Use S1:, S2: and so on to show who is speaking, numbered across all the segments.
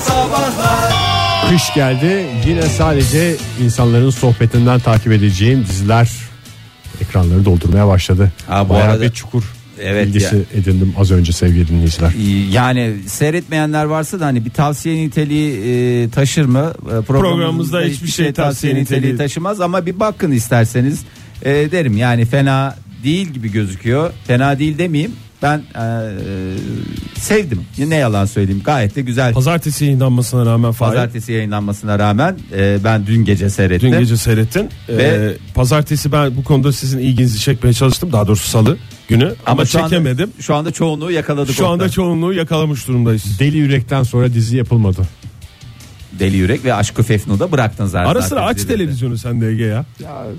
S1: Sabahlar
S2: Kış geldi yine sadece insanların sohbetinden takip edeceğim diziler ekranları doldurmaya başladı.
S3: Ha, bu
S2: Bayağı
S3: arada-
S2: bir çukur
S3: Evet
S2: bilgisi
S3: ya.
S2: edindim az önce sevgili dinleyiciler.
S3: Yani seyretmeyenler varsa da hani bir tavsiye niteliği e, taşır mı? E,
S4: Programımızda hiçbir şey tavsiye niteliği
S3: taşımaz ama bir bakın isterseniz E, derim. Yani fena değil gibi gözüküyor. Fena değil demeyeyim. Ben e, sevdim. Ne yalan söyleyeyim. Gayet de güzel.
S4: Pazartesi yayınlanmasına rağmen Fahir,
S3: Pazartesi yayınlanmasına rağmen e, ben dün gece
S4: Dün
S3: seyrettim.
S4: gece seyrettin.
S3: Ve-
S4: Ee, pazartesi ben bu konuda sizin ilginizi çekmeye çalıştım. Daha doğrusu salı günü ama,
S3: şu anda-
S4: çekemedim.
S3: şu anda çoğunluğu yakaladık.
S4: Şu anda
S3: Oktay.
S4: çoğunluğu yakalamış durumdayız.
S2: Deli Yürek'ten sonra dizi yapılmadı.
S3: Deli Yürek ve Aşkı Fefnu'da bıraktın zaten.
S4: Ara sıra aç
S3: dizileri.
S4: televizyonu sen de Ege ya.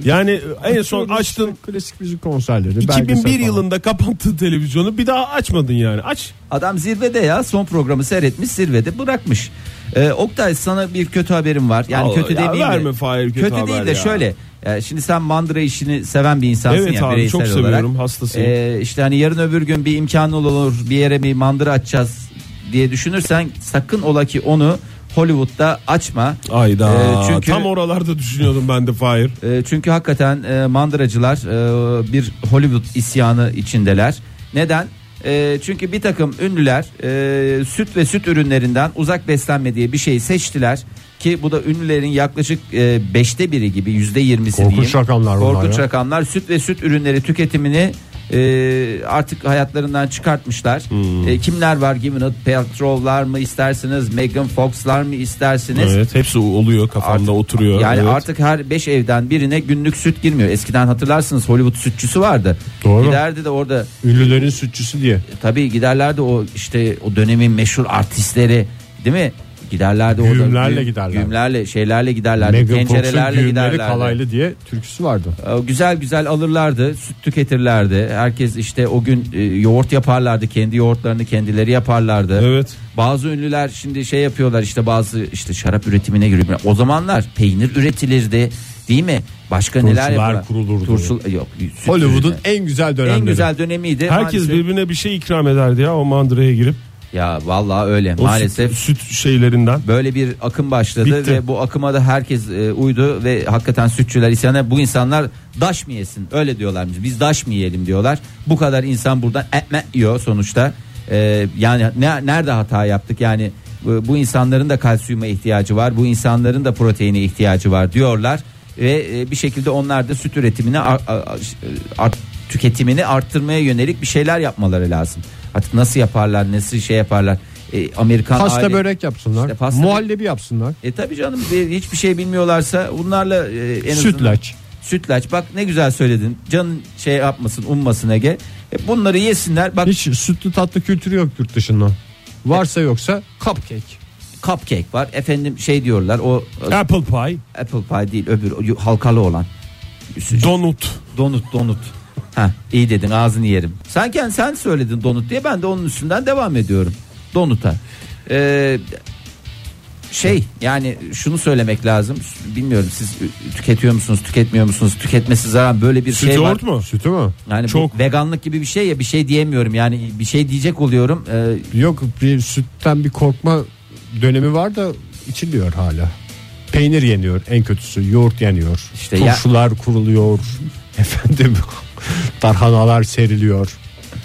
S4: Yani en son açtın
S2: Klasik müzik konserleri.
S4: 2001
S2: belgesel falan.
S4: yılında kapattın televizyonu bir daha açmadın yani. Aç.
S3: Adam zirvede ya son programı seyretmiş zirvede bırakmış. Ee, Oktay sana bir kötü haberim var. Yani
S4: Allah,
S3: kötü
S4: ya
S3: demeyeyim de.
S4: verme Fahir kötü haber
S3: değil de
S4: ya.
S3: şöyle. e, şimdi sen mandıra işini seven bir insansın
S4: Evet
S3: ya
S4: abi,
S3: bireysel
S4: çok
S3: olarak.
S4: seviyorum, hastasıyım.
S3: Ee, işte hani yarın öbür gün bir imkanı olur bir yere bir mandıra açacağız diye düşünürsen sakın ola ki onu Hollywood'da açma.
S4: Ayda.
S3: Ee, çünkü-
S4: Tam oralarda düşünüyordum ben de Fahir.
S3: E, çünkü hakikaten e, mandıracılar e, bir Hollywood isyanı içindeler. Neden? E, çünkü bir takım ünlüler e, süt ve süt ürünlerinden uzak beslenme diye bir şey seçtiler. Ki bu da ünlülerin yaklaşık e, beşte biri gibi yüzde yirmisi
S2: Korkunç
S3: diyeyim.
S2: rakamlar bunlar
S3: Korkunç
S2: ya.
S3: rakamlar. Süt ve süt ürünleri tüketimini e, artık hayatlarından çıkartmışlar.
S2: Hmm.
S3: E, kimler var? Gwyneth Paltrow'lar mı istersiniz? Megan Fox'lar mı istersiniz?
S4: Evet hepsi oluyor kafamda
S3: Artık-
S4: oturuyor.
S3: Yani
S4: evet.
S3: artık her 5 evden birine günlük süt girmiyor. Eskiden hatırlarsınız Hollywood sütçüsü vardı.
S2: Doğru.
S3: Giderdi de orada
S2: Ünlülerin sütçüsü diye.
S3: tabii giderlerdi o işte o dönemin meşhur artistleri değil mi? Giderlerdi orada.
S2: Güğümlerle
S3: Güğüm-
S2: giderlerdi.
S3: Güğümlerle şeylerle giderlerdi.
S2: Megan Fox'un
S3: tencerelerle
S2: düğünleri
S3: giderlerdi.
S2: kalaylı diye türküsü vardı.
S3: Ee, Güzel güzel alırlardı, süt tüketirlerdi. Herkes işte o gün e, yoğurt yaparlardı, kendi yoğurtlarını kendileri yaparlardı.
S4: Evet.
S3: Bazı ünlüler şimdi şey yapıyorlar işte bazı işte şarap üretimine giriyor. O zamanlar peynir üretilirdi değil mi? Başka neler
S2: Turşular
S3: yapıyorlar?
S2: kurulurdu.
S3: Turşul, yok, süt
S2: Hollywood'un
S3: ürünü.
S2: en güzel dönemleri.
S3: en güzel dönemiydi.
S4: Herkes
S3: Maalesef-
S4: birbirine bir şey ikram ederdi ya o mandıraya girip.
S3: Ya vallahi öyle
S4: O
S3: maalesef.
S4: Süt, süt şeylerinden.
S3: Böyle bir akım başladı
S4: Bitti.
S3: ve bu akıma da herkes e, uydu ve hakikaten sütçüler isyana bu insanlar daş mı yesin öyle diyorlarmış biz daş mı yiyelim diyorlar bu kadar insan buradan etme yiyor sonuçta E, yani ne, nerede hata yaptık yani e, bu insanların da kalsiyuma ihtiyacı var bu insanların da proteine ihtiyacı var diyorlar ve e, bir şekilde onlar da süt üretimini ar- ar- e, art- tüketimini arttırmaya yönelik bir şeyler yapmaları lazım artık nasıl yaparlar nasıl şey yaparlar E, Amerikan
S2: Pasta
S3: aile-
S2: börek yapsınlar.
S3: İşte pasta-
S2: muhallebi yapsınlar.
S3: e tabi canım bir- hiçbir şey bilmiyorlarsa bunlarla e, en azından-
S2: Sütlaç.
S3: Sütlaç bak ne güzel söyledin. Canın şey yapmasın ummasın Ege. E, bunları yesinler bak
S2: Hiç sütlü tatlı kültürü yok yurt dışında. Varsa yoksa cupcake.
S3: cupcake var. Efendim şey diyorlar o e,
S4: Apple pie,
S3: apple pie değil öbür o yu- halkalı olan. Üstü-
S4: donut.
S3: Donut donut. Ha iyi dedin ağzını yerim. Sen kend- sen söyledin donut diye ben de onun üstünden devam ediyorum. Donuta. Ee, şey yani şunu söylemek lazım. Bilmiyorum siz tüketiyor musunuz, tüketmiyor musunuz? Tüketmesi zaten böyle bir
S4: Süt
S3: şey var.
S4: yoğurt mu?
S2: Sütü mü?
S3: Yani
S4: Çok.
S3: bu veganlık gibi bir şey ya bir şey diyemiyorum. Yani bir şey diyecek oluyorum. Ee,
S2: Yok bir sütten bir korkma dönemi var da içiliyor hala. Peynir yeniyor en kötüsü yoğurt yeniyor.
S3: İşte ya-
S2: Turşular kuruluyor. Efendim tarhanalar seriliyor.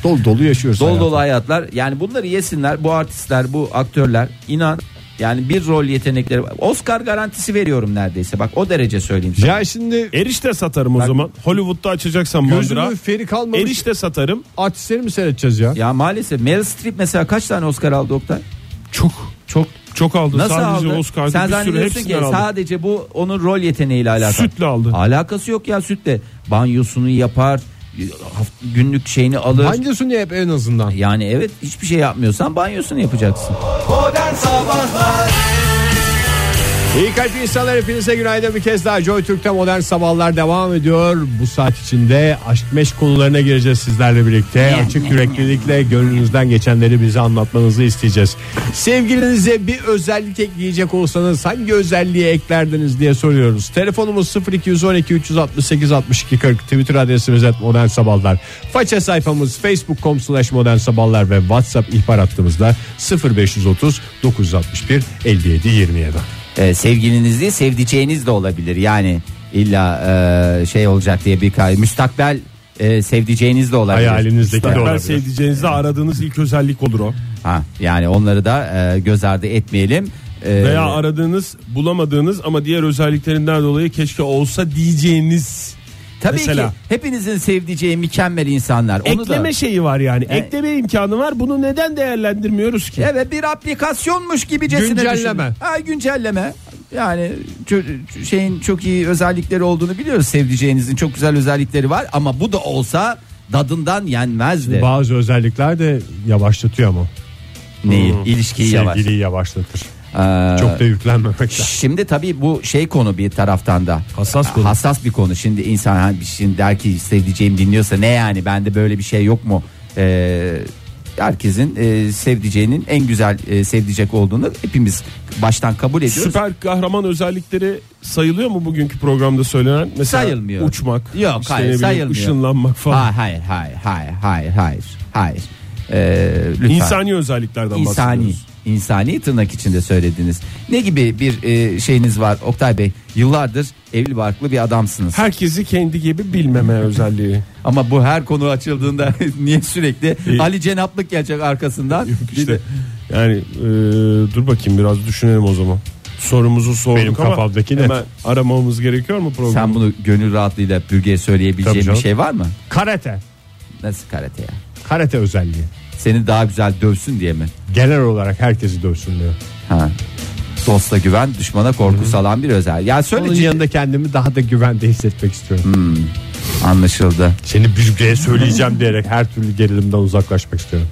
S2: Dolu dolu yaşıyoruz.
S3: Dol
S2: hayatı.
S3: dolu hayatlar. Yani bunları yesinler bu artistler, bu aktörler. inan yani bir rol yetenekleri var. Oscar garantisi veriyorum neredeyse. Bak o derece söyleyeyim sana.
S2: Ya şimdi
S4: Erişte satarım o
S3: Bak-
S4: zaman. Hollywood'da açacaksan mandıra.
S2: gözümün feri kalmamış
S4: Erişte satarım.
S2: artistleri mi seyredeceğiz ya?
S3: Ya maalesef Meryl Streep mesela kaç tane Oscar aldı Oktay?
S4: Çok
S3: Çok.
S4: çok aldı.
S3: Nasıl
S4: Sadece
S3: aldı?
S4: Oscar'da
S3: Sen
S4: bir sürü
S3: zannediyorsun ki
S4: hepsinden aldı.
S3: sadece bu onun rol yeteneğiyle alakalı.
S4: Sütle aldı.
S3: Alakası yok ya sütle. Banyosunu yapar, haft- günlük şeyini alır.
S2: Hangisini hep en azından?
S3: Yani evet hiçbir şey yapmıyorsan banyosunu yapacaksın.
S1: Modern Sabahlar
S2: İyi kalp insanlar hepinize günaydın bir kez daha Joy Türk'te modern sabahlar devam ediyor. Bu saat içinde aşk meş konularına gireceğiz sizlerle birlikte. Açık yüreklilikle gönlünüzden geçenleri bize anlatmanızı isteyeceğiz. Sevgilinize bir özellik ekleyecek olsanız hangi özelliği eklerdiniz diye soruyoruz. Telefonumuz 0212 368 62 40 Twitter adresimiz et modern sabahlar. Faça sayfamız facebook.com slash modern sabahlar ve whatsapp ihbar hattımızda 0530 961 57 27.
S3: e, sevgiliniz değil sevdiceğiniz de olabilir. Yani illa e, şey olacak diye bir kay müstakbel e, sevdiceğiniz de olabilir.
S2: Hayalinizdeki de
S4: Ben
S2: olabilir.
S4: sevdiceğinizde aradığınız ilk özellik olur o.
S3: Ha, yani onları da e, göz ardı etmeyelim. E,
S4: Veya aradığınız bulamadığınız ama diğer özelliklerinden dolayı keşke olsa diyeceğiniz
S3: tabii
S4: mesela.
S3: ki hepinizin sevdiceği mükemmel insanlar. Onu da,
S4: ekleme şeyi var yani. Ekleme imkanı var. Bunu neden değerlendirmiyoruz ki?
S3: Evet bir aplikasyonmuş gibicesine düşün.
S2: Güncelleme.
S3: Ha, güncelleme. Yani çö- çö- şeyin çok iyi özellikleri olduğunu biliyoruz. Sevdiceğinizin çok güzel özellikleri var ama bu da olsa dadından yenmezdi.
S2: Bazı özellikler de yavaşlatıyor ama.
S3: Neyi?
S4: Hmm.
S3: İlişkiyi yavaş.
S2: Sevgiliyi yavaşlatır.
S3: Ee,
S2: Çok da yüklenmemek lazım.
S3: Şimdi tabii bu şey konu bir taraftan da
S4: Hassas konu.
S3: Hassas bir konu. Şimdi insan hani şimdi der ki sevdiceğim dinliyorsa ne yani bende böyle bir şey yok mu? Ee, herkesin e, sevdiceğinin en güzel e, sevdicek olduğunu hepimiz baştan kabul ediyoruz.
S4: Süper kahraman özellikleri sayılıyor mu bugünkü programda söylenen? Mesela
S3: Sayılmıyor.
S4: Uçmak.
S3: Yok,
S4: işte
S3: hayır,
S4: ne bileyim,
S3: sayılmıyor.
S4: Işınlanmak falan.
S3: Ha, hayır hayır hayır hayır hayır hayır. Ee, lütfen.
S4: İnsani özelliklerden
S3: insani
S4: bahsediyoruz.
S3: insani tırnak içinde söylediniz. Ne gibi bir e, şeyiniz var Oktay Bey? Yıllardır evli barklı bir adamsınız.
S4: Herkesi kendi gibi bilmeme özelliği.
S3: Ama bu her konu açıldığında niye sürekli
S4: İyi.
S3: Ali Cenaplık gelecek arkasından? Bir de-
S4: İşte yani e, dur bakayım biraz düşünelim o zaman. Sorumuzu sorduk
S2: Benim
S4: ama
S2: kafamdaki net.
S4: hemen aramamız gerekiyor mu programı?
S3: Sen bunu gönül rahatlığıyla bürgeye
S2: Tabii
S3: söyleyebileceğin bir
S2: canım.
S3: şey var mı?
S2: Karate.
S3: Nasıl karate ya?
S2: Karate özelliği.
S3: Seni daha güzel dövsün diye mi?
S2: Genel olarak herkesi dövsün diyor.
S3: Ha. Dosta güven, düşmana korku salan bir özel. Ya söyle
S2: Onun
S3: ciddi-
S2: yanında kendimi daha da güvende hissetmek istiyorum.
S3: Hmm. anlaşıldı.
S2: Seni bürgeye söyleyeceğim diyerek her türlü gerilimden uzaklaşmak istiyorum.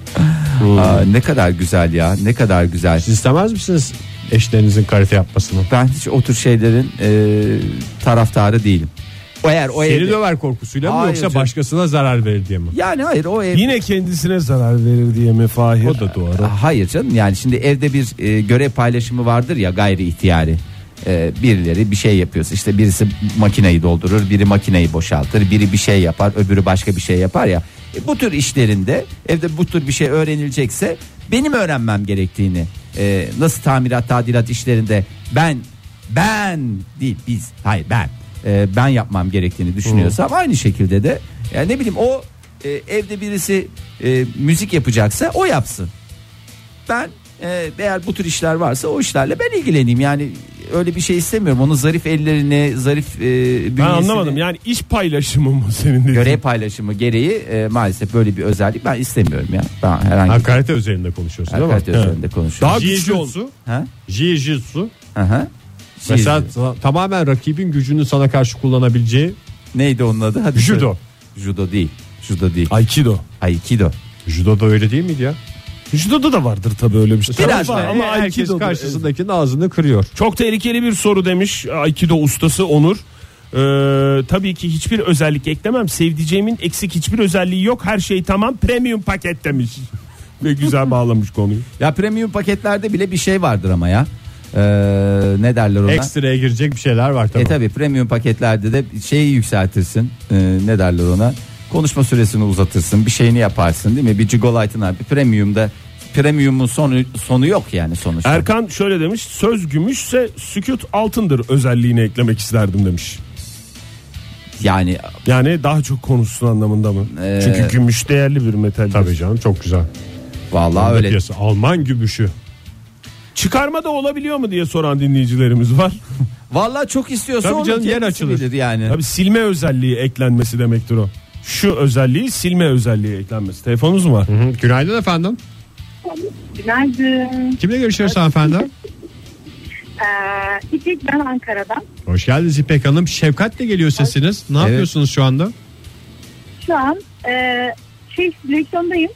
S3: Aa, ne kadar güzel ya. Ne kadar güzel.
S2: Siz istemez misiniz eşlerinizin karate yapmasını?
S3: Ben hiç o tür şeylerin e, taraftarı değilim. O eğer o
S2: Seni
S3: evde-
S2: döver korkusuyla mı
S3: Hayır
S2: yoksa
S3: canım.
S2: başkasına zarar verir diye mi?
S3: yani hayır o ev
S4: Yine kendisine zarar verir diye mi Fahir?
S2: O da doğru.
S3: Hayır canım yani şimdi evde bir e, görev paylaşımı vardır ya gayri ihtiyari. E, birileri bir şey yapıyorsa işte birisi makineyi doldurur, biri makineyi boşaltır, biri bir şey yapar, öbürü başka bir şey yapar ya. E, bu tür işlerinde evde bu tür bir şey öğrenilecekse benim öğrenmem gerektiğini e, nasıl tamirat tadilat işlerinde ben ben değil biz hayır ben e, ben yapmam gerektiğini düşünüyorsam aynı şekilde de yani ne bileyim o e, evde birisi e, müzik yapacaksa o yapsın ben e, eğer bu tür işler varsa o işlerle ben ilgileneyim. Yani öyle bir şey istemiyorum. Onun zarif ellerini, zarif e, bünyesini.
S4: Ben anlamadım yani iş paylaşımı mı senin dediğin?
S3: Görev paylaşımı gereği e, maalesef böyle bir özellik ben istemiyorum ya. Ben
S2: Ha,
S3: herhangi bir
S2: karate üzerinde konuşuyorsun
S3: Hakikaten
S2: değil mi?
S3: üzerinde
S4: Daha
S3: konuşuyorum.
S4: güçlü ol.
S2: Jiu-jitsu.
S3: Ha?
S2: Jiu-jitsu.
S3: Aha.
S2: Mesela
S3: Jiu-jitsu.
S2: sana- tamamen rakibin gücünü sana karşı kullanabileceği
S3: neydi onun adı? Hadi
S2: Judo.
S3: söyle. Judo değil. Judo değil.
S4: Aikido.
S3: Aikido.
S2: Judo da öyle değil miydi ya?
S4: Judo'da da vardır tabii öyle bir şey.
S3: Biraz
S4: Tabii
S3: da,
S4: ama
S2: herkes
S4: Aikido'da-
S2: karşısındakinin ağzını kırıyor.
S4: Çok tehlikeli bir soru demiş Aikido ustası Onur. Ee, tabii ki hiçbir özellik eklemem. Sevdiceğimin eksik hiçbir özelliği yok. Her şey tamam. Premium paket demiş. Ve güzel bağlamış konuyu.
S3: Ya premium paketlerde bile bir şey vardır ama ya. Ee, ne derler ona?
S2: Ekstraya girecek bir şeyler var tabii.
S3: E tabi premium paketlerde de şeyi yükseltirsin. Ee, ne derler ona? Konuşma süresini uzatırsın. Bir şeyini yaparsın değil mi? Bir Gigolight'ın abi premiumda premiumun sonu sonu yok yani sonuçta.
S4: Erkan şöyle demiş. Söz gümüşse sükut altındır özelliğini eklemek isterdim demiş.
S3: yani
S4: Yani daha çok konuşsun anlamında mı?
S3: Ee,
S4: Çünkü gümüş değerli bir metal.
S2: Tabii canım çok güzel.
S3: vallahi öyle.
S2: Piyasa, Alman gümüşü.
S4: Çıkarma da olabiliyor mu diye soran dinleyicilerimiz var.
S3: Vallahi çok istiyorsa
S4: Tabii
S3: onun
S4: canım, yer
S3: kendisi
S4: açılır.
S3: bilir yani.
S4: Tabii silme özelliği eklenmesi demektir o. Şu özelliği silme özelliği eklenmesi. Telefonunuz mu var?
S2: Hı hı. Günaydın efendim.
S1: Günaydın.
S2: Kimle görüşüyoruz hanımefendi?
S1: Ee, İpek ben Ankara'dan.
S2: Hoş geldiniz İpek Hanım. Şefkatle geliyor sesiniz. Ne
S3: Evet.
S2: yapıyorsunuz şu anda?
S1: Şu an e, şey direksiyondayım.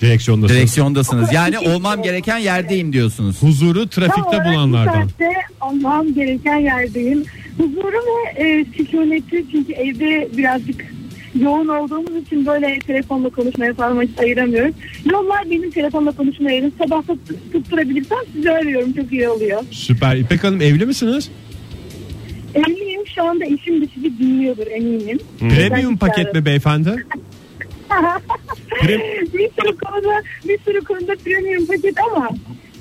S2: Direksiyondasın.
S3: Direksiyondasınız. Yani
S1: şey
S3: olmam gereken yerdeyim diyorsunuz.
S2: Huzuru
S1: Tam
S2: trafikte
S1: olarak bu
S2: bulanlardan.
S1: saatte olmam gereken yerdeyim. Huzuru ve e, sükuneti çünkü evde birazcık yoğun olduğumuz için böyle telefonla konuşmaya falan vakit ayıramıyoruz. Yollar benim telefonla konuşma yerim. Sabah tut- tutturabilirsem sizi arıyorum. Çok iyi oluyor.
S2: Süper. İpek Hanım evli misiniz?
S1: Eminim şu anda işim dışı bir dinliyordur eminim.
S2: Premium paket mi beyefendi?
S1: bir sürü konuda bir sürü konuda premium paket ama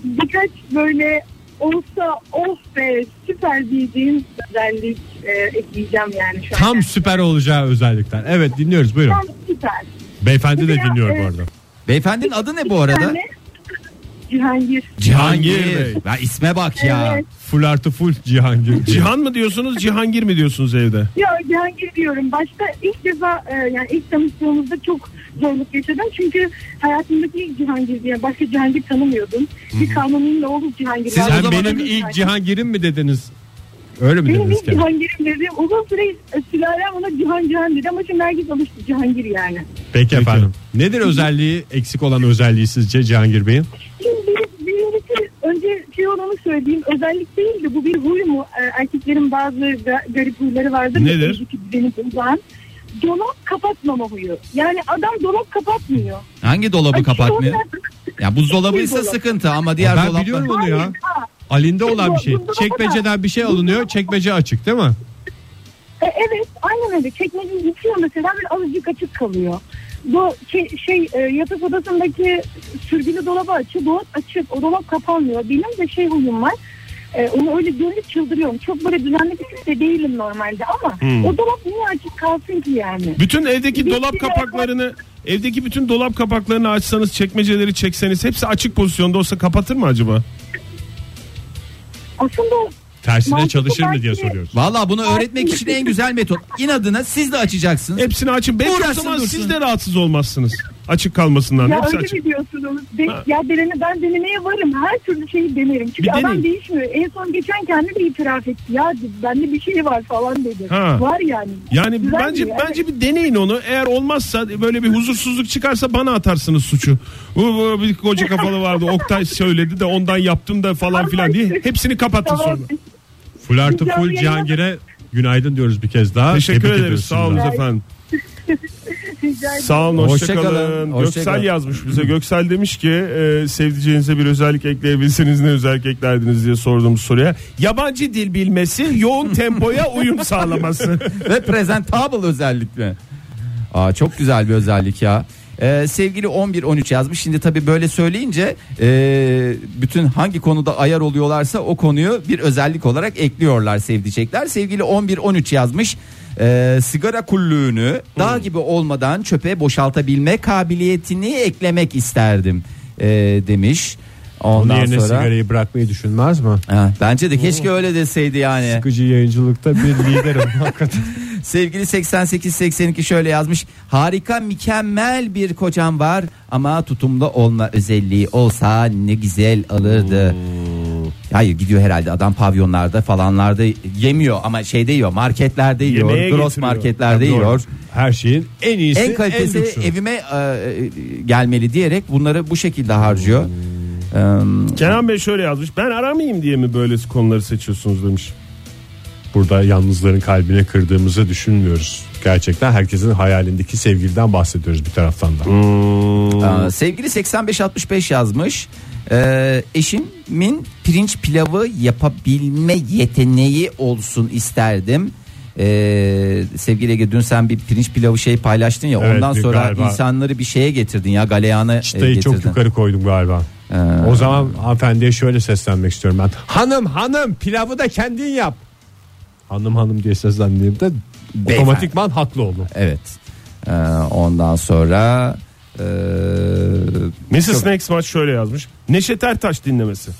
S1: birkaç böyle olsa of be süper diyeceğim özellik e, ekleyeceğim yani şu an.
S2: Tam süper olacağı özellikler. Evet dinliyoruz buyurun.
S1: Tam süper.
S2: Beyefendi de
S1: Ya,
S2: dinliyor bu
S1: evet.
S2: arada.
S3: Beyefendinin adı ne bu arada?
S1: Yani Cihangir.
S2: Cihangir Bey.
S3: Ya isme bak ya.
S1: Evet.
S2: Full artı full Cihangir.
S4: Cihan mı diyorsunuz Cihangir mi diyorsunuz evde?
S1: Yo Cihangir diyorum. Başta ilk defa e, yani ilk tanıştığımızda çok zorluk yaşadım. Çünkü hayatımdaki ilk Cihangir diye başka Cihangir tanımıyordum. Bir kanunumla oldu Cihangir.
S3: Siz
S1: vardı.
S3: o
S2: Sen
S3: zaman-
S2: benim ilk Cihangir'im mi dediniz? Öyle mi
S1: Benim
S2: dediniz
S1: ilk
S2: ki?
S1: Cihangir'im dedim. Uzun süre e, sülalem ona Cihan Cihan dedi ama şimdi herkes alıştı Cihangir yani.
S2: Peki efendim. Nedir özelliği, eksik olan özelliği sizce Cihangir Bey'in?
S1: Şimdi bir, birincisi önce şey olanı söyleyeyim. Özellik değil de bu bir huy mu? Ee, erkeklerin bazı ga- garip huyları vardır. ya,
S4: Nedir?
S1: evdeki düzeni bozan. Dolap kapatmama huyu. Yani adam dolap kapatmıyor.
S3: Hangi dolabı
S1: Ay, şey
S3: kapatmıyor?
S1: şu
S3: Ya buzdolabıysa
S1: Buzdolabı.
S3: sıkıntı ama diğer
S2: ben
S3: dolaplar.
S2: biliyorum onu
S1: Hayır,
S2: ya.
S1: ha.
S2: Alinde olan bir şey.
S1: Bu- bu- bu-
S2: Çekmeceden bir şey alınıyor. Çekmece açık değil mi?
S1: E, evet aynen öyle. Çekmeceyi yıkıyor mesela bir azıcık açık kalıyor. Bu şey, şey e, yatak odasındaki sürgülü dolabı açık, dolap açık. O dolap kapanmıyor. Benim de şey huyum var. E, onu öyle görünce çıldırıyorum. Çok böyle düzenli bir kişi de değilim normalde ama
S2: Hmm.
S1: o dolap niye açık kalsın ki yani?
S4: Bütün evdeki
S1: Bir
S4: dolap
S1: kere-
S4: kapaklarını evdeki bütün dolap kapaklarını açsanız çekmeceleri çekseniz hepsi açık pozisyonda olsa kapatır mı acaba?
S1: Aslında
S2: Tersine
S1: Mantıklı
S2: çalışır mı
S1: belki-
S2: diye soruyoruz.
S3: Valla bunu öğretmek için
S2: şey
S3: en güzel metot. İnadına siz de açacaksınız.
S4: Hepsini açın. Belki o
S3: Uğraşsın
S4: zaman
S3: dursun.
S4: siz de rahatsız olmazsınız. Açık kalmasından.
S1: ya
S4: Hepsi
S1: öyle
S4: açık.
S1: mi diyorsunuz? De-
S4: Ha.
S1: ya denene, ben denemeye varım. Her türlü şeyi denerim. Çünkü
S4: Bir
S1: adam
S4: deneyin.
S1: değişmiyor. En son geçen kendi de itiraf etti. Ya dedi, bende bir şey var falan dedi.
S4: Ha.
S1: Var yani.
S4: Yani
S1: Güzel
S4: bence
S1: diyor,
S4: bence bir deneyin onu. Eğer olmazsa böyle bir huzursuzluk çıkarsa bana atarsınız suçu. Bu, bu bir koca kafalı vardı. Oktay söyledi de ondan yaptım da falan filan diye. Hepsini kapatın
S1: Tamam.
S4: sonra.
S2: Full artı
S1: Güzel
S2: full
S1: yayınlar.
S2: Cihangir'e günaydın diyoruz bir kez daha.
S4: Teşekkür
S2: Tebrik
S4: ederiz.
S2: ediyoruz
S4: Sağ olun
S2: şimdi.
S4: efendim.
S1: Rica ederim.
S4: Sağ olun
S3: Hoşça
S4: hoşçakalın.
S3: kalın,
S4: Kalın.
S3: hoşça
S4: Göksel
S3: kalın.
S4: yazmış bize. Göksel demiş ki e, sevdiceğinize bir özellik ekleyebilseniz ne özellik eklerdiniz diye sorduğumuz soruya. Yabancı dil bilmesi, yoğun tempoya uyum sağlaması.
S3: ve presentable özellikle. Aa, çok güzel bir özellik ya. Ee, sevgili 11-13 yazmış. Şimdi tabii böyle söyleyince e, bütün hangi konuda ayar oluyorlarsa o konuyu bir özellik olarak ekliyorlar sevdicekler. Sevgili 11-13 yazmış. Ee, sigara kullüğünü
S2: Hmm.
S3: dağ gibi olmadan çöpe boşaltabilme kabiliyetini eklemek isterdim ee, demiş.
S2: Onun
S3: Ondan
S2: yerine
S3: sonra
S2: sigarayı bırakmayı düşünmez mi?
S3: Ha, bence de keşke öyle deseydi yani.
S2: Sıkıcı yayıncılıkta bir liderim hakikaten.
S3: Sevgili 8882 şöyle yazmış. Harika mükemmel bir kocam var ama tutumlu olma özelliği olsa ne güzel alırdı. Hayır gidiyor herhalde adam pavyonlarda falanlarda yemiyor ama şeyde yiyor marketlerde yiyor.
S4: Yemeğe
S3: gross
S4: getiriyor.
S3: marketlerde
S2: Doğru.
S3: yiyor.
S2: Her şeyin en iyisi en,
S3: En kalitesi
S2: lüksü.
S3: evime e, e, gelmeli diyerek bunları bu şekilde harcıyor. Ee,
S4: Kenan Bey şöyle yazmış. Ben aramayayım diye mi böyle konuları seçiyorsunuz demiş.
S2: Burada yalnızların kalbine kırdığımızı düşünmüyoruz. Gerçekten herkesin hayalindeki sevgiliden bahsediyoruz bir taraftan da.
S3: Aa, sevgili 8565 yazmış. Ee, eşimin pirinç pilavı yapabilme yeteneği olsun isterdim. Ee, sevgili Ege dün sen bir pirinç pilavı şey paylaştın ya
S2: Evet,
S3: ondan
S2: bir
S3: sonra
S2: galiba.
S3: insanları bir şeye getirdin ya galeyana e,
S2: Çıtayı
S3: getirdin. Ee.
S2: çok yukarı koydum galiba. O zaman hanımefendiye şöyle seslenmek istiyorum ben. Hanım hanım pilavı da kendin yap. Hanım hanım diye seslendiğimde
S3: Beyefendi.
S2: otomatikman haklı oldum.
S3: Evet. Ee, ondan sonra ee,
S4: Mrs.
S3: çok-
S4: Next Match şöyle yazmış. Neşet Ertaş dinlemesi.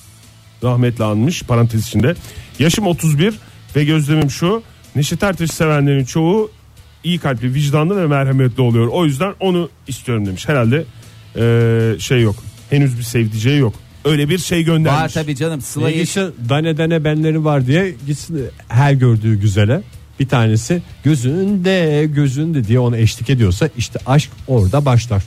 S4: Rahmetli anmış parantez içinde. Yaşım 31 ve gözlemim şu. Neşet Ertaş'ı sevenlerin çoğu iyi kalpli, vicdanlı ve merhametli oluyor. O yüzden onu istiyorum demiş. Herhalde eee, şey yok. Henüz bir sevdiceği yok. Öyle bir şey göndermiş.
S3: var tabii canım Sıla Yeşil-
S2: Bilgisi dane dane benleri var diye gitsin her gördüğü güzele bir tanesi gözünde gözünde diye ona eşlik ediyorsa işte aşk orada başlar.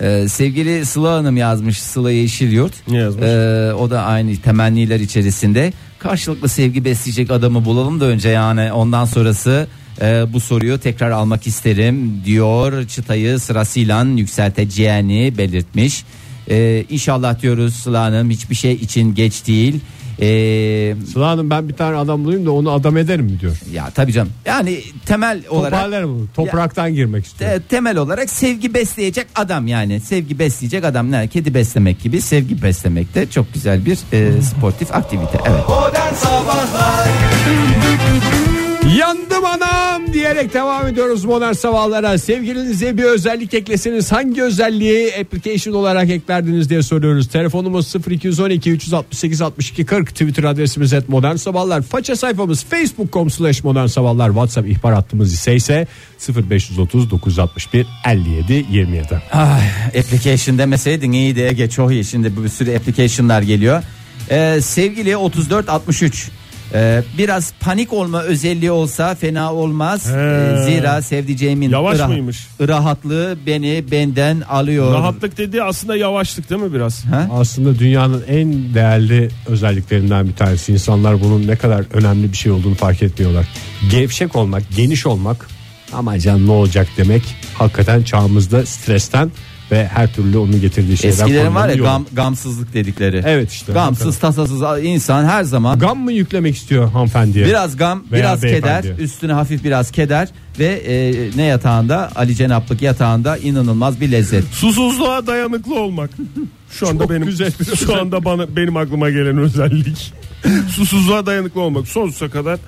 S3: Ee, sevgili Sıla Hanım yazmış Sıla Yeşilyurt.
S4: Ne yazmış?
S3: Ee, o da aynı temenniler içerisinde. Karşılıklı sevgi besleyecek adamı bulalım da önce yani ondan sonrası e, bu soruyu tekrar almak isterim diyor. Çıtayı sırasıyla yükselteceğini belirtmiş. Ee, inşallah diyoruz Sıla Hanım hiçbir şey için geç değil. Ee,
S2: Sıla Hanım ben bir tane adam bulayım da onu adam ederim mi diyor.
S3: ya tabii canım yani temel olarak
S2: Toparlarım bunu. Topraktan girmek istiyor.
S3: Te- E, temel olarak sevgi besleyecek adam yani sevgi besleyecek adam ne kedi beslemek gibi sevgi beslemek de çok güzel bir e, sportif aktivite evet
S2: Yandım anam diyerek devam ediyoruz modern sabahlara. Sevgilinize bir özellik ekleseniz hangi özelliği application olarak eklerdiniz diye soruyoruz. Telefonumuz 0212 368 62 40 Twitter adresimiz et modern sabahlar. Faça sayfamız facebook.com slash modern sabahlar. Whatsapp ihbar hattımız ise ise 0530 961 57 27.
S3: Ay, Ah, application demeseydin iyiydi Ege çok iyi şimdi bir sürü applicationlar geliyor Ee, sevgili 3463 ee, biraz panik olma özelliği olsa fena olmaz Ee, zira sevdiceğimin
S4: Yavaş
S3: ıra-
S4: mıymış?
S3: rahatlığı beni benden alıyor
S4: Rahatlık dediği aslında yavaşlık değil mi biraz?
S2: Aslında dünyanın en değerli özelliklerinden bir tanesi. İnsanlar bunun ne kadar önemli bir şey olduğunu fark etmiyorlar. Gevşek olmak, geniş olmak ama can ne olacak demek hakikaten çağımızda stresten ve her türlü onun getirdiği şeyden
S4: E,
S3: Eskilerin var
S2: korunmanın
S3: ya
S2: yolu.
S3: gam, gamsızlık dedikleri.
S2: Evet işte.
S3: Gamsız tasasız insan her zaman
S2: Gam mı yüklemek istiyor hanımefendiye?
S3: biraz gam
S2: Veya
S3: biraz keder
S2: beyefendiye.
S3: üstüne hafif biraz keder ve e, ne yatağında Ali Cenaplık yatağında inanılmaz bir lezzet.
S4: Susuzluğa dayanıklı olmak. Şu anda
S2: Çok
S4: benim
S2: güzel bir
S4: şu anda bana benim aklıma gelen özellik. Susuzluğa dayanıklı olmak. Sonsuza kadar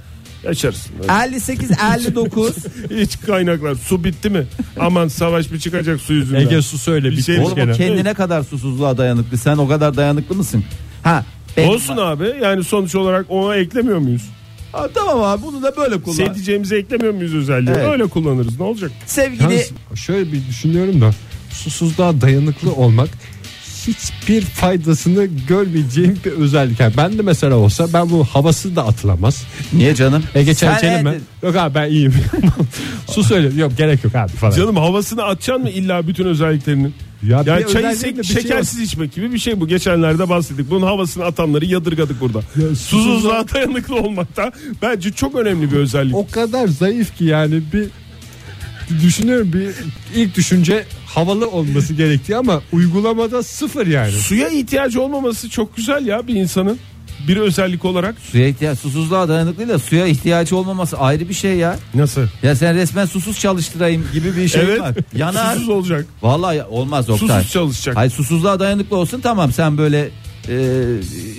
S4: yaşarsın.
S3: 58 59
S4: Hiç kaynaklar. Su bitti mi? Aman savaş mı çıkacak su yüzünden?
S2: Ege su söyle
S4: Bir
S2: bir
S4: şey-
S3: Oğlum o
S4: Gene.
S3: kendine kadar susuzluğa dayanıklı. Sen o kadar dayanıklı mısın? Ha. ben-
S4: Olsun abi. Yani sonuç olarak ona eklemiyor muyuz?
S3: Ha, tamam abi bunu da böyle kullan.
S4: Sevdiceğimize eklemiyor muyuz özelliği?
S3: Evet.
S4: Öyle kullanırız. Ne olacak?
S3: Sevgili
S2: Yalnız şöyle bir düşünüyorum da susuzluğa dayanıklı olmak hiçbir faydasını görmeyeceğim bir özellik. Yani ben de mesela olsa ben bu havası da atılamaz.
S3: niye canım?
S2: E geçen
S3: Sen
S2: içelim mi?
S3: neydin?
S2: Yok abi ben iyiyim. Su söyle. Yok gerek yok abi falan.
S4: Canım havasını atacaksın mı illa bütün özelliklerinin?
S2: Ya
S4: Ya,
S2: bir
S4: çayı
S2: özelliğinde bir
S4: sek-
S2: şey yok.
S4: şekersiz içmek gibi bir şey bu. Geçenlerde bahsettik. Bunun havasını atanları yadırgadık burada. Susuzluğa dayanıklı olmak da bence çok önemli bir özellik.
S2: O kadar zayıf ki yani bir düşünüyorum bir ilk düşünce havalı olması gerektiği ama uygulamada sıfır yani.
S4: Suya ihtiyacı olmaması çok güzel ya bir insanın. Bir özellik olarak.
S3: Suya ihtiyaç, susuzluğa dayanıklı da suya ihtiyacı olmaması ayrı bir şey ya.
S4: Nasıl?
S3: Ya sen resmen susuz çalıştırayım gibi bir şey
S4: evet.
S3: var. Yanar.
S4: Susuz olacak.
S3: Vallahi ya- olmaz Oktay.
S4: Susuz çalışacak.
S3: Hayır susuzluğa dayanıklı olsun tamam sen böyle e,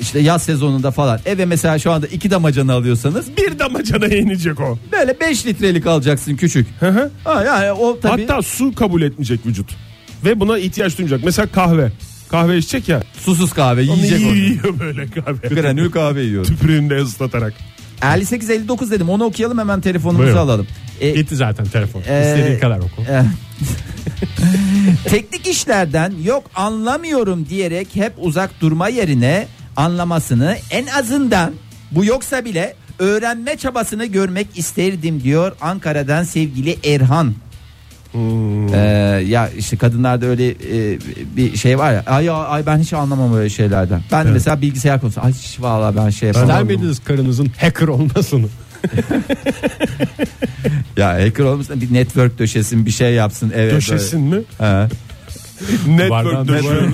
S3: işte yaz sezonunda falan eve mesela şu anda iki damacana alıyorsanız
S4: Bir damacana inecek o.
S3: böyle 5 litrelik alacaksın küçük.
S4: Hı hı.
S3: Ha, yani o tabii
S4: Hatta su kabul etmeyecek vücut. Ve buna ihtiyaç duymayacak. Mesela kahve. Kahve içecek ya.
S3: susuz kahve yiyecek
S4: Onu
S3: orada.
S4: yiyor böyle kahve.
S3: Granül kahve yiyor.
S4: Tüpürüğünde ıslatarak.
S3: 58 59 dedim onu okuyalım hemen telefonumuzu
S2: Buyurun.
S3: alalım. E,
S2: Gitti zaten telefon.
S3: Ee,
S2: İstediğin kadar oku.
S3: Eh. Teknik işlerden yok anlamıyorum diyerek hep uzak durma yerine anlamasını en azından bu yoksa bile öğrenme çabasını görmek isterdim diyor Ankara'dan sevgili Erhan. Ee, ya işte kadınlarda öyle e, bir şey var ya ay, ay ben hiç anlamam öyle şeylerden. Ben de mesela bilgisayar konusu ay hiç vallahi ben şey yapamam.
S2: İster miydiniz karınızın hacker olmasını?
S3: Ya hacker olmuşsun bir network döşesin bir şey yapsın evet.
S4: Döşesin mi?
S3: Ha.
S4: Network
S2: Duvardan
S4: döşeriz.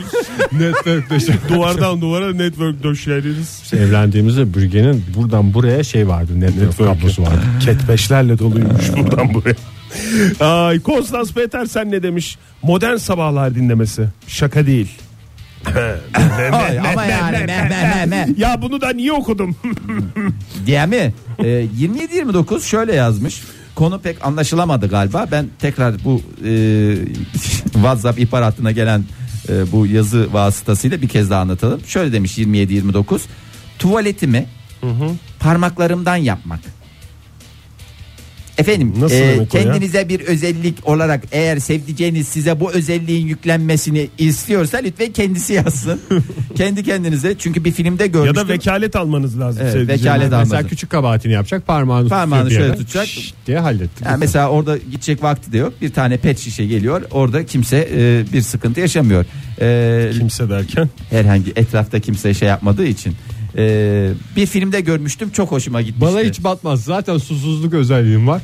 S2: Network döşe.
S4: Duvardan duvara network döşeriz.
S2: Evlendiğimizde bürgenin buradan buraya şey vardı. Network, kablosu vardı.
S4: Ketbeşlerle doluymuş buradan buraya. Ay Konstans Peter sen ne demiş? Modern sabahlar dinlemesi. Şaka değil.
S3: Ay, ama yani meh, meh, meh, meh.
S4: Ya bunu da niye okudum?
S3: Diye mi? Ee, 27-29 şöyle yazmış. Konu pek anlaşılamadı galiba. Ben tekrar bu e, WhatsApp ihbar hattına gelen e, bu yazı vasıtasıyla bir kez daha anlatalım. Şöyle demiş 27-29. Tuvaletimi parmaklarımdan yapmak. Efendim
S4: Nasıl
S3: e,
S4: demek o ya?
S3: kendinize bir özellik olarak eğer sevdiceğiniz size bu özelliğin yüklenmesini istiyorsa lütfen kendisi yazsın. Kendi kendinize çünkü bir filmde
S4: Ya
S3: görmüştüm.
S4: da vekalet almanız lazım.
S3: Evet,
S4: sevdiceğiniz.
S3: vekalet al-
S2: Mesela
S3: Anladım.
S2: küçük kabahatini yapacak parmağını,
S3: Parmağını
S2: tutuyor bir
S3: şöyle
S2: yere.
S3: tutacak.
S2: Şşş diye hallettik.
S3: Yani mesela orada gidecek vakti de yok. Bir tane pet şişe geliyor. Orada kimse e, bir sıkıntı yaşamıyor. E,
S4: Kimse derken.
S3: herhangi etrafta kimse şey yapmadığı için. E, bir filmde görmüştüm çok hoşuma gitmişti.
S2: Bana hiç batmaz. Zaten susuzluk özelliğim var.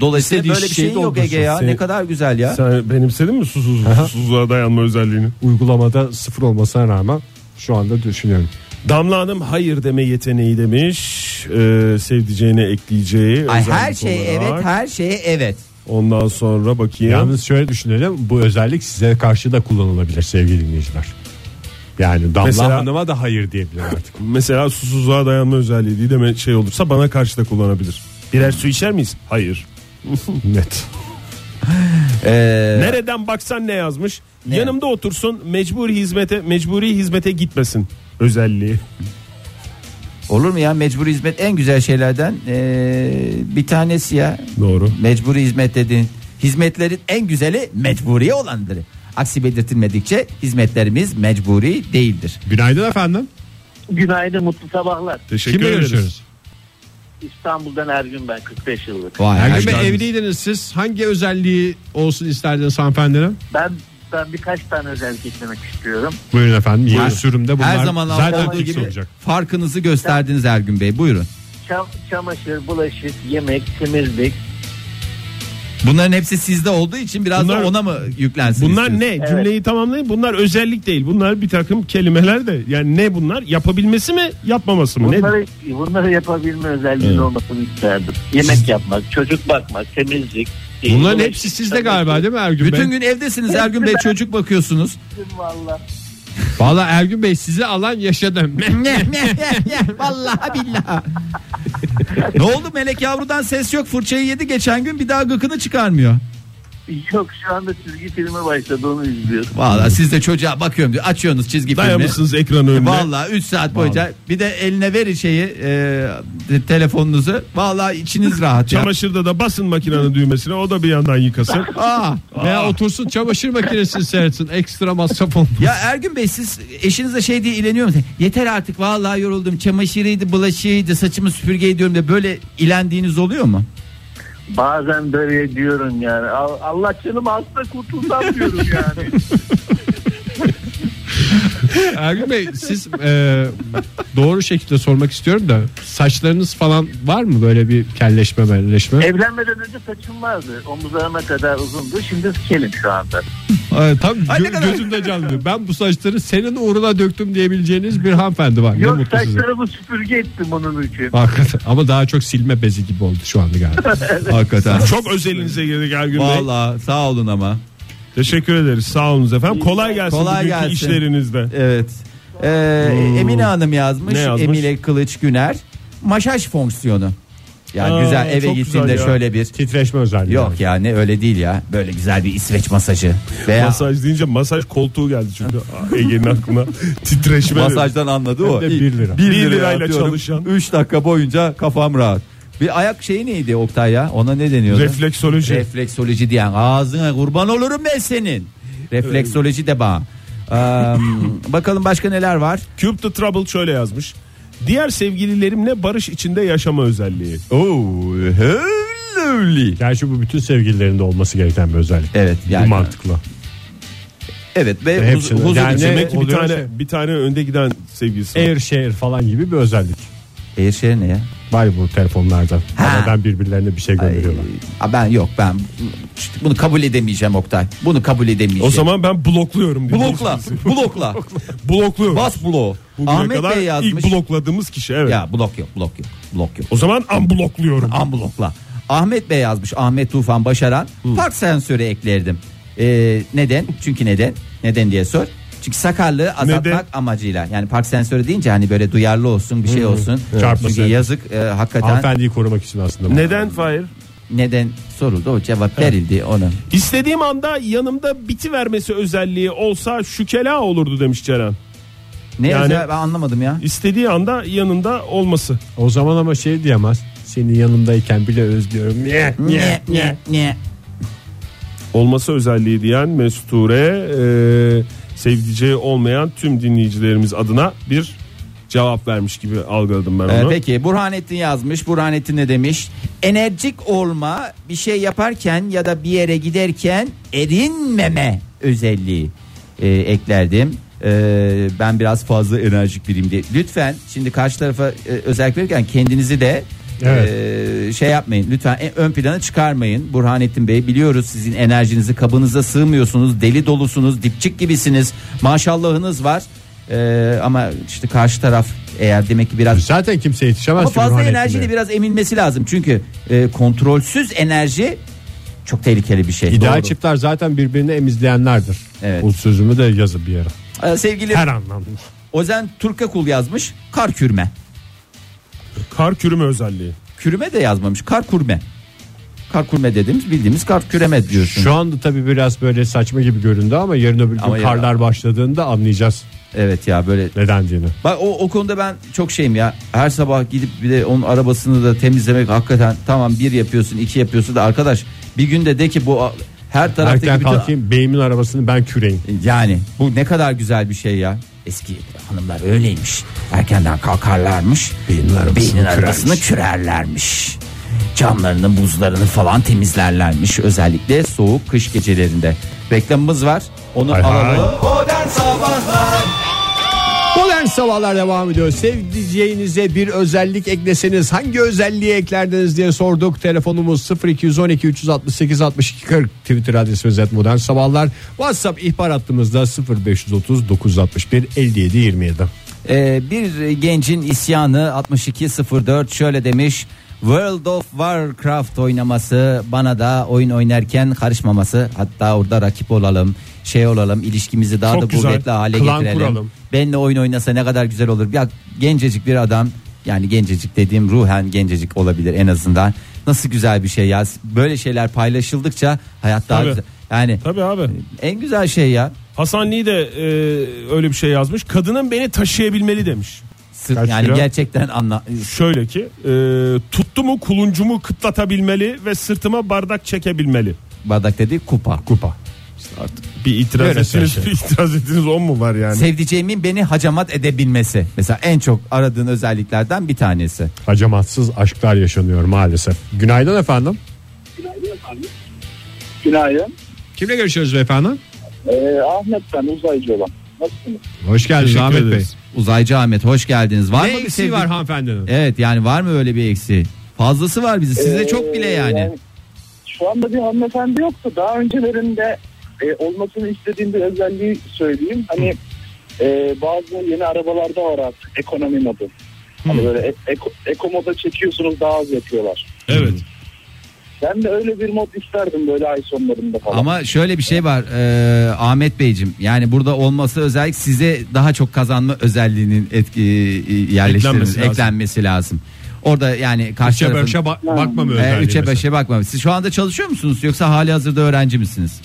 S3: Dolayısıyla
S2: istediği
S3: böyle bir
S2: şeyi
S3: şey yok
S2: doldursun.
S3: Ege ya.
S4: Seni-
S3: Ne kadar güzel ya.
S4: Sen benimsedin mi susuz, susuzluğa dayanma özelliğini?
S2: Uygulamada sıfır olmasına rağmen şu anda düşünüyorum.
S4: Damla Hanım hayır deme yeteneği demiş. Ee, sevdiceğine ekleyeceği.
S3: Ay,
S4: özellik
S3: her şeye
S4: olarak.
S3: evet her şeye evet.
S4: Ondan sonra bakayım.
S2: Yalnız şöyle düşünelim bu özellik size karşı da kullanılabilir sevgili dinleyiciler. Yani Damla
S4: Mesela-
S2: Hanım'a da hayır diyebilir artık.
S4: Mesela susuzluğa dayanma özelliği değil deme şey olursa bana karşı da kullanabilir. Birer su içer miyiz? Hayır.
S2: Net.
S3: Ee,
S4: Nereden baksan ne yazmış?
S3: Ne?
S4: Yanımda otursun mecburi hizmete mecburi hizmete gitmesin özelliği.
S3: Olur mu ya mecburi hizmet en güzel şeylerden ee, bir tanesi ya.
S4: Doğru.
S3: Mecburi hizmet dediğin hizmetlerin en güzeli mecburiye olandır. Aksi belirtilmedikçe hizmetlerimiz mecburi değildir.
S2: Günaydın efendim.
S5: Günaydın mutlu sabahlar.
S4: Teşekkür
S2: Kimle
S4: ederiz.
S2: görüşüyoruz?
S5: İstanbul'dan Ergün ben 45 yıllık.
S3: Vay
S2: Ergün Bey e,
S3: arkadaş.
S2: evliydiniz siz. Hangi özelliği olsun isterdiniz hanımefendinin?
S5: Ben ben birkaç tane özellik eklemek istiyorum.
S2: Buyurun efendim. Yeni
S3: Her-
S2: sürümde bunlar
S3: her zaman
S2: zaten
S3: olduğu
S2: fix
S3: gibi
S2: olacak.
S3: farkınızı gösterdiniz Ergün Bey. Buyurun.
S5: Çam, çamaşır, bulaşık, yemek, temizlik.
S3: Bunların hepsi sizde olduğu için biraz
S4: Bunlar-
S3: da ona mı yüklensin?
S4: Bunlar ne?
S3: istiyorsunuz?
S4: Cümleyi tamamlayın. Bunlar özellik değil. Bunlar bir takım kelimeler de. Yani ne bunlar? Yapabilmesi mi? Yapmaması mı? Ne?
S5: Bunları, bunları yapabilme özelliğinin olmasını isterdim. Yemek yapmak, çocuk bakmak, temizlik.
S2: Bunların
S5: bulaşık,
S2: hepsi sizde
S5: çamaşır.
S2: galiba değil mi Ergün Bey?
S3: Bütün gün evdesiniz Ergün Bey çocuk bakıyorsunuz.
S5: Vallahi.
S2: Valla Ergün Bey sizi alan yaşadım.
S3: Vallahi billahi. ne oldu Melek Yavru'dan ses yok. Fırçayı yedi geçen gün bir daha gıkını çıkarmıyor.
S5: Yok şu anda çizgi filmi başladı onu izliyorum.
S3: Vallahi siz de çocuğa bakıyorum diyor. Açıyorsunuz çizgi filmi.
S4: Dayamışsınız ekran önüne.
S3: Vallahi 3 saat boyunca bir de eline verin şeyi e, de- telefonunuzu. Vallahi içiniz rahat ya.
S4: Çamaşırda da basın makinenin düğmesine o da bir yandan yıkasın.
S3: Aa.
S2: Veya Ah, otursun çamaşır makinesini seyretsin. Ekstra masraf olmaz.
S3: Ya Ergün Bey siz eşinizle şey diye ileniyor musunuz? Yeter artık vallahi yoruldum. Çamaşırıydı, bulaşığıydı, saçımı süpürge ediyorum de böyle ilendiğiniz oluyor mu?
S5: Bazen böyle diyorum yani. "Al- Allah canım hasta kurtulsam diyorum yani.
S2: Ergün Bey siz e, doğru şekilde sormak istiyorum da saçlarınız falan var mı böyle bir kelleşme melleşme?
S3: E,
S5: Evlenmeden önce saçım vardı. Omuzlarıma kadar uzundu. Şimdi sikelim şu anda.
S2: Ee, tam
S3: Ay, ne
S2: gö-
S3: kadar-
S2: gözümde canlı. Ben bu saçları senin uğruna döktüm diyebileceğiniz bir hanımefendi var. ne
S5: Yok
S2: mutlu size.
S5: saçlarımı süpürge ettim onun için.
S2: Hakikaten. Ama daha çok silme bezi gibi oldu şu anda galiba.
S3: Hakikaten.
S4: Çok özelinize girdik Ergün Bey.
S3: Vallahi sağ olun ama.
S4: Teşekkür ederiz. Sağ olun efendim. Kolay gelsin
S3: Kolay
S4: bugünkü
S3: gelsin.
S4: işlerinizde.
S3: Evet. Ee, Emine Hanım yazmış.
S4: Ne yazmış?
S3: Emine Kılıç Güner. Masaj fonksiyonu. Ya
S4: Aa,
S3: güzel eve
S4: çok
S3: gittiğinde
S4: güzel ya.
S3: şöyle bir
S2: Titreşme özelliği.
S3: Yok
S2: var.
S3: yani öyle değil ya. Böyle güzel bir İsveç masajı. Veya
S4: Masaj deyince masaj koltuğu geldi çünkü Aa, Ege'nin aklına titreşme.
S3: masajdan anladı o.
S2: Hem de bir lira.
S4: Bir lirayla çalışan.
S3: 3 dakika boyunca kafam rahat. Bir ayak şeyi neydi Oktay ya? Ona ne deniyordu?
S4: Refleksoloji.
S3: Refleksoloji diyen ağzına kurban olurum ben senin. Refleksoloji de bana. Eee, bakalım başka neler var?
S4: Cube the Trouble şöyle yazmış. Diğer sevgililerimle barış içinde yaşama özelliği.
S3: Oh, lovely.
S2: Gerçi bu bütün sevgililerinde olması gereken bir özellik.
S3: Evet, E, yani.
S2: Bu mantıklı.
S3: Evet ve
S2: Hepsini-
S4: şey.
S3: huzur, huzur
S2: Yani-
S3: için-
S4: Demek ki bir
S2: oluyor
S4: tane
S2: şey.
S4: bir tane önde giden sevgilisi. var.
S2: Air share falan gibi bir özellik.
S3: Airshare şey ne ya?
S2: Var bu telefonlarda.
S3: Ha.
S2: Aradan birbirlerine bir şey gönderiyorlar.
S3: Ay, Ee, ben yok ben bunu kabul edemeyeceğim Oktay. Bunu kabul edemeyeceğim.
S4: O zaman ben blokluyorum diyor.
S3: blokla, blokla.
S4: Blokluyorum.
S3: Bas bloğu.
S4: Bugüne
S3: Ahmet
S4: kadar
S3: Bey yazmış.
S4: ilk blokladığımız kişi evet.
S3: Ya blok yok, blok yok, blok yok.
S4: O zaman unblokluyorum.
S3: An blokla. Ahmet Bey yazmış. Ahmet Tufan Başaran. Park sensörü eklerdim. Ee, neden? Çünkü neden? Neden diye sor. Çünkü sakarlığı azaltmak
S4: Neden?
S3: amacıyla. Yani park sensörü deyince hani böyle duyarlı olsun, bir şey olsun.
S2: Çarpmasın.
S3: Çünkü yazık e, hakikaten
S2: Hanımefendiyi korumak için aslında. bu.
S4: Neden Fahir?
S3: neden soruldu o cevap verildi onun.
S4: İstediğim anda yanımda biti vermesi özelliği olsa şükela olurdu demiş Ceren.
S3: Ne
S4: Yani-
S3: özel ben anlamadım ya.
S4: İstediği anda yanında olması.
S2: O zaman ama şey diyemez. Seni yanımdayken bile özlüyorum. Niye?
S3: Ne ne ne.
S4: olması özelliği diyen Mesut Ture e, sevdiceği olmayan tüm dinleyicilerimiz adına bir cevap vermiş gibi algıladım ben
S3: Ee,
S4: onu.
S3: peki Burhanettin yazmış. Burhanettin ne demiş? Enerjik olma bir şey yaparken ya da bir yere giderken erinmeme özelliği e, eklerdim. Ee, ben biraz fazla enerjik biriyim diye. Lütfen şimdi karşı tarafa e, özellik verirken kendinizi de
S2: Evet.
S3: e, şey yapmayın. Lütfen e, ön plana çıkarmayın. Burhanettin Bey biliyoruz sizin enerjinizi kabınıza sığmıyorsunuz. Deli dolusunuz. Dipçik gibisiniz. Maşallahınız var. Ee, ama işte karşı taraf eğer demek ki biraz
S2: Zaten kimse yetişemez.
S3: ama
S2: ki
S3: fazla
S2: Burhanettin'e.
S3: enerjiyle biraz emilmesi lazım. Çünkü e, kontrolsüz enerji çok tehlikeli bir şey.
S2: İdeal
S3: Doğru.
S2: çiftler zaten birbirini emizleyenlerdir.
S3: Evet.
S2: Bu sözümü de yazıp bir yere.
S3: Ee, sevgili
S2: Her anlamda.
S3: Ozen Turkakul yazmış. Kar kürme.
S4: Kar kürüme özelliği.
S3: Kürüme de yazmamış. Kar kurme. Kar kurme dediğimiz bildiğimiz kar küreme diyorsun.
S2: Şu anda tabii biraz böyle saçma gibi göründü ama yarın öbür gün
S3: Ama ya-
S2: karlar başladığında anlayacağız
S3: Evet ya böyle.
S2: neden diyeni.
S3: Bak o, o konuda ben çok şeyim ya. Her sabah gidip bir de onun arabasını da temizlemek hakikaten tamam bir yapıyorsun iki yapıyorsun da arkadaş bir günde de ki bu a- her taraftaki
S2: Erken
S3: bütün-
S2: kalkayım beyimin arabasını ben küreyim.
S3: Yani bu ne kadar güzel bir şey ya. Eski hanımlar öyleymiş. Erkenden kalkarlarmış. Beynin arabasını, kürerlermiş. Camlarının buzlarını falan temizlerlermiş. Özellikle soğuk kış gecelerinde. Reklamımız var. Onu alalım.
S2: Modern sabahlar devam ediyor. Sevdiceğinize bir özellik ekleseniz hangi özelliği eklerdiniz diye sorduk. Telefonumuz 0212 368 62 40 Twitter adresimiz et modern sabahlar. WhatsApp ihbar hattımızda 0530 961 57 27.
S3: Ee, bir gencin isyanı 6204 şöyle demiş. World of Warcraft oynaması bana da oyun oynarken karışmaması hatta orada rakip olalım şey olalım ilişkimizi daha
S4: Çok
S3: da
S4: güzel.
S3: kuvvetli hale
S4: Klan
S3: getirelim.
S4: kuralım.
S3: Benle oyun oynasa ne kadar güzel olur. Ya gencecik bir adam yani gencecik dediğim ruhen gencecik olabilir en azından. Nasıl güzel bir şey ya. Böyle şeyler paylaşıldıkça hayat daha
S4: Tabii.
S3: güzel. Yani
S4: Tabii abi.
S3: en güzel şey ya.
S4: Hasan Lee de e, öyle bir şey yazmış. Kadının beni taşıyabilmeli demiş.
S3: Sırf
S2: Kaç
S3: yani
S2: kilo?
S3: gerçekten anla
S4: Şöyle ki e, tuttu mu kuluncumu kıtlatabilmeli ve sırtıma bardak çekebilmeli.
S3: bardak dedi kupa.
S2: Kupa.
S4: Bir itiraz
S2: Böyle
S4: ettiniz,
S2: şey.
S4: bir itiraz ettiniz on mu var yani?
S3: Sevdiceğimin beni hacamat edebilmesi. Mesela en çok aradığın özelliklerden bir tanesi.
S2: Acamatsız aşklar yaşanıyor maalesef. Günaydın efendim.
S5: Günaydın.
S2: Kimle görüşüyoruz beyefendi?
S5: Ee, Ahmet ben uzaycı olan. Nasılsınız?
S2: Hoş geldiniz
S4: Teşekkür
S2: Ahmet Bey.
S4: ederiz.
S3: Uzaycı Ahmet hoş geldiniz. Var
S2: Ne
S3: mı bir
S2: eksiği
S3: sevdi-
S2: var hanımefendinin?
S3: Evet yani var mı öyle bir eksiği? Fazlası var bizi. Sizde çok bile Ee, yani.
S5: Ee, Şu anda bir hanımefendi yoktu. Daha öncelerinde e, olmasını istediğim bir özelliği söyleyeyim. Hani e, bazı yeni arabalarda var artık ekonomi modu.
S3: Hmm.
S5: Hani böyle e- eko, eko moda çekiyorsunuz daha az yapıyorlar.
S4: Evet.
S5: Ben de öyle bir mod isterdim böyle ay sonlarında falan.
S3: Ama şöyle bir şey var eee, Ahmet Beyciğim. Yani burada olması özellik size daha çok kazanma özelliğinin etki yerleştirilmesi,
S4: Eklenmesi lazım.
S3: eklenmesi lazım. Orda yani karşı
S2: Üçe
S3: tarafın-
S2: beşe ba- bakma mı
S3: Ee,
S2: özelliği
S3: üçe
S2: mesela?
S3: beşe bakma. Siz şu anda çalışıyor musunuz yoksa hali hazırda öğrenci misiniz?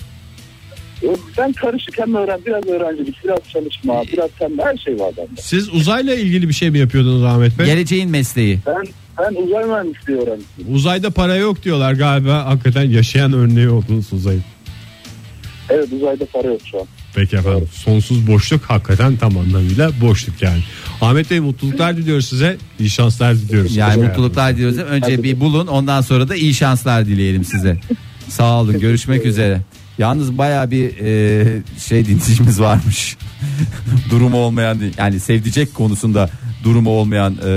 S5: Ben karışık hem öğren, biraz öğrencilik, biraz çalışma, biraz sende her şey var bende.
S2: Siz uzayla ilgili bir şey mi yapıyordunuz Ahmet Bey?
S3: Geleceğin mesleği.
S5: Ben, ben uzay mühendisliği öğrencisiyim.
S2: Uzayda para yok diyorlar galiba. Hakikaten yaşayan örneği oldunuz uzayın.
S5: Evet uzayda para yok şu an.
S2: Peki efendim. Sonsuz boşluk hakikaten tam anlamıyla boşluk yani. Ahmet Bey mutluluklar diliyoruz size. İyi şanslar diliyoruz.
S3: Yani
S2: Teşekkür
S3: mutluluklar diliyoruz. Önce bir bulun ondan sonra da iyi şanslar dileyelim size. Sağ olun görüşmek üzere. Yalnız baya bir e, şey dinleyicimiz varmış. durumu olmayan yani sevdicek konusunda durumu olmayan e,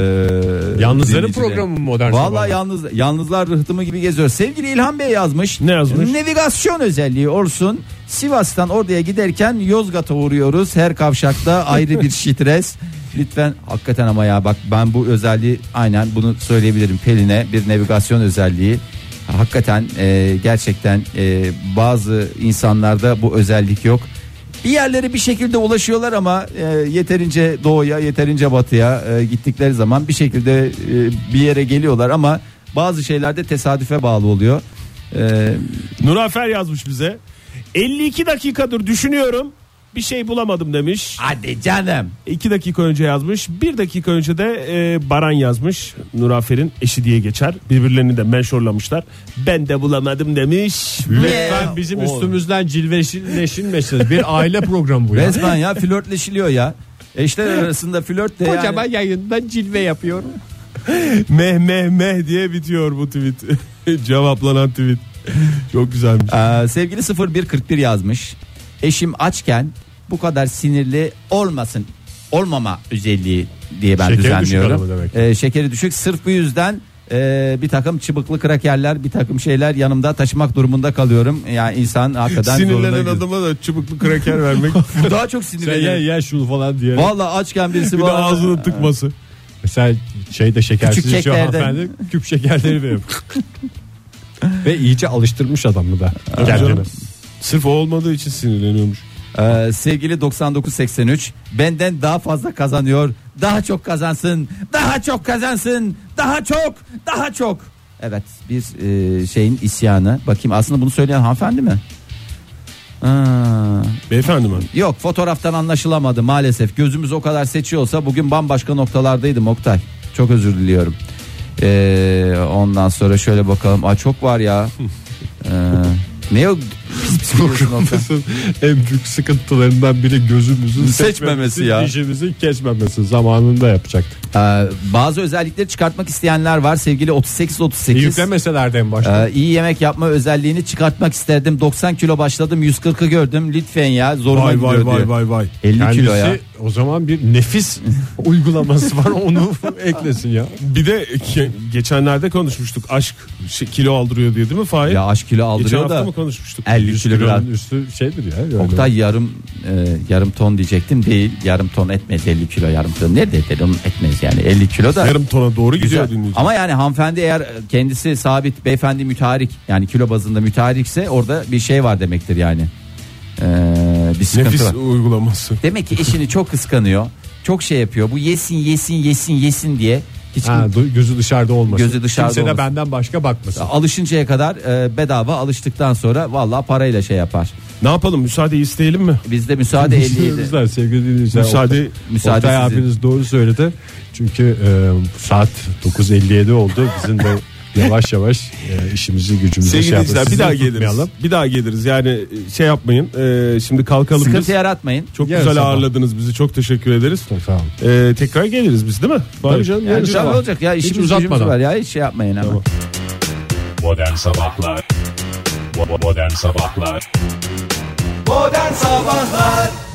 S2: Yalnızların
S3: dinleyiciler.
S2: programı mı modern sabahlar?
S3: Vallahi yalnız, yalnızlar rıhtımı gibi geziyor. Sevgili İlhan Bey yazmış.
S4: Ne yazmış?
S3: Navigasyon özelliği olsun. Sivas'tan oraya giderken Yozgat'a uğruyoruz. Her kavşakta ayrı bir şitres. Lütfen hakikaten ama ya bak ben bu özelliği aynen bunu söyleyebilirim. Pelin'e bir navigasyon özelliği. Hakikaten e, gerçekten e, bazı insanlarda bu özellik yok. Bir yerlere bir şekilde ulaşıyorlar ama e, yeterince doğuya yeterince batıya e, gittikleri zaman bir şekilde e, bir yere geliyorlar ama bazı şeylerde tesadüfe bağlı oluyor. E,
S4: Nurafer yazmış bize. 52 dakikadır düşünüyorum. Bir şey bulamadım demiş.
S3: Hadi canım.
S4: İki dakika önce yazmış. Bir dakika önce de e, Baran yazmış. Nurafer'in eşi diye geçer. Birbirlerini de menşorlamışlar. Ben de bulamadım demiş.
S2: Lütfen bizim
S3: Oğlum.
S2: üstümüzden cilveşilmeşiniz. Bir aile programı bu ya.
S3: Resmen ya flörtleşiliyor ya. Eşler arasında flört de yani.
S2: Kocaman yayından cilve yapıyor.
S4: meh meh meh diye bitiyor bu tweet. Cevaplanan tweet. Çok güzelmiş.
S3: Ee, sevgili 0141 yazmış. Eşim açken bu kadar sinirli olmasın. Olmama özelliği diye ben
S2: Şekeri düşük
S3: düzenliyorum.
S2: adamı demek.
S3: Ee, şekeri düşük. Sırf bu yüzden e, bir takım çıbıklı krakerler, bir takım şeyler yanımda taşımak durumunda kalıyorum. Yani insan hakikaten zorunda
S4: Sinirlenen
S3: gidiyor.
S4: adama da çubuklu kraker vermek.
S3: daha çok
S2: Sen Şey, ya
S3: sinirleniyor.
S2: ya şunu falan diye.
S3: Valla açken birisi
S4: bir de
S3: bana-
S4: ağzını tıkması.
S2: Mesela şeyde şekersiz
S3: Küçük
S2: içiyor
S3: keklerden.
S2: hanımefendi. Küp şekerleri veriyor. Ve iyice alıştırmış adamı da. Kendini.
S4: canım. Sırf o olmadığı için sinirleniyormuş.
S3: Ee, sevgili 9983 benden daha fazla kazanıyor. Daha çok kazansın. Daha çok kazansın. Daha çok. Daha çok. Evet bir e, şeyin isyanı. Bakayım aslında bunu söyleyen hanımefendi mi? Ha,
S4: Beyefendi mi?
S3: yok fotoğraftan anlaşılamadı maalesef. Gözümüz o kadar seçiyorsa bugün bambaşka noktalardaydım Oktay. Çok özür diliyorum. Ee, ondan sonra şöyle bakalım. Aa, çok var ya. Ee, ne şey o pis pis geliyorsun Oktay?
S2: en büyük sıkıntılarından biri gözümüzün
S3: Seçmemesi ya.
S2: Dişimizin kesmemesi zamanında yapacaktık.
S3: Ee, bazı özellikleri çıkartmak isteyenler var sevgili 38
S4: E,
S3: 38.
S2: Yüklemeselerdi en başta.
S3: Ee, iyi yemek yapma özelliğini çıkartmak isterdim. 90 kilo başladım, 140'ı gördüm. Lütfen ya zoruma
S2: Vay
S3: gidiyor
S2: vay vay
S3: diyor.
S2: vay vay.
S3: 50 kilo ya.
S2: o zaman bir nefis uygulaması var onu eklesin ya.
S4: Bir de ge- geçenlerde konuşmuştuk. Aşk şey, kilo aldırıyor diye değil mi Fahir?
S3: Ya aşk kilo
S4: Geçen
S3: aldırıyor
S4: hafta
S3: da
S4: mı konuşmuştuk?
S3: 50
S2: 100
S3: kilo biraz.
S2: kilonun üstü şeydir ya. yani.
S3: Oktay yarım e, yarım ton diyecektim değil. Yarım ton etmez 50 kilo yarım ton. Ne dedi onu etmez yani 50 kilo da.
S4: Yarım tona doğru
S3: Güzel.
S4: gidiyor dinleyici.
S3: Ama yani hanımefendi eğer kendisi sabit beyefendi mütarik yani kilo bazında mütarikse orada bir şey var demektir yani. Ee, bir sıkıntı
S4: Nefis
S3: var.
S4: uygulaması.
S3: Demek ki eşini çok kıskanıyor. Çok şey yapıyor. Bu yesin yesin yesin yesin diye hiç
S2: Ha, du- gözü dışarıda olmasın.
S3: Gözü dışarıda
S2: Kimse de
S3: olmasın.
S2: benden başka bakmasın.
S3: alışıncaya kadar e, bedava alıştıktan sonra vallahi parayla şey yapar.
S4: Ne yapalım müsaade isteyelim mi?
S3: Bizde müsaade 57.
S2: Bizler sevgili dinleyiciler.
S4: Müsaade-
S2: Oktay-
S3: müsaade
S2: Oktay
S3: sizin.
S2: abiniz doğru söyledi. Çünkü e, saat 9.57 oldu. Bizim de yavaş yavaş e, işimizi gücümüzü
S4: Sevgili
S2: yapıyoruz.
S4: dinleyiciler bir
S2: Sizi
S4: daha geliriz.
S2: tutmayalım.
S4: Bir daha geliriz. Yani e, şey yapmayın. e, şimdi kalkalım biz.
S3: Sıkıntı yaratmayın.
S4: Çok
S2: Yarın
S4: güzel
S2: sabah.
S4: ağırladınız bizi. Çok teşekkür ederiz.
S2: Çok sağ olun.
S4: E, tekrar geliriz biz değil mi? Fahir?
S2: canım,
S3: Yani
S2: yarın
S3: güzel
S2: sabah.
S3: şey olacak ya
S2: Hiç
S3: işimiz gücümüz
S2: uzatmadan.
S3: var ya hiç şey yapmayın ama.
S6: Modern Sabahlar Bo- Modern Sabahlar
S3: Modern Sabahlar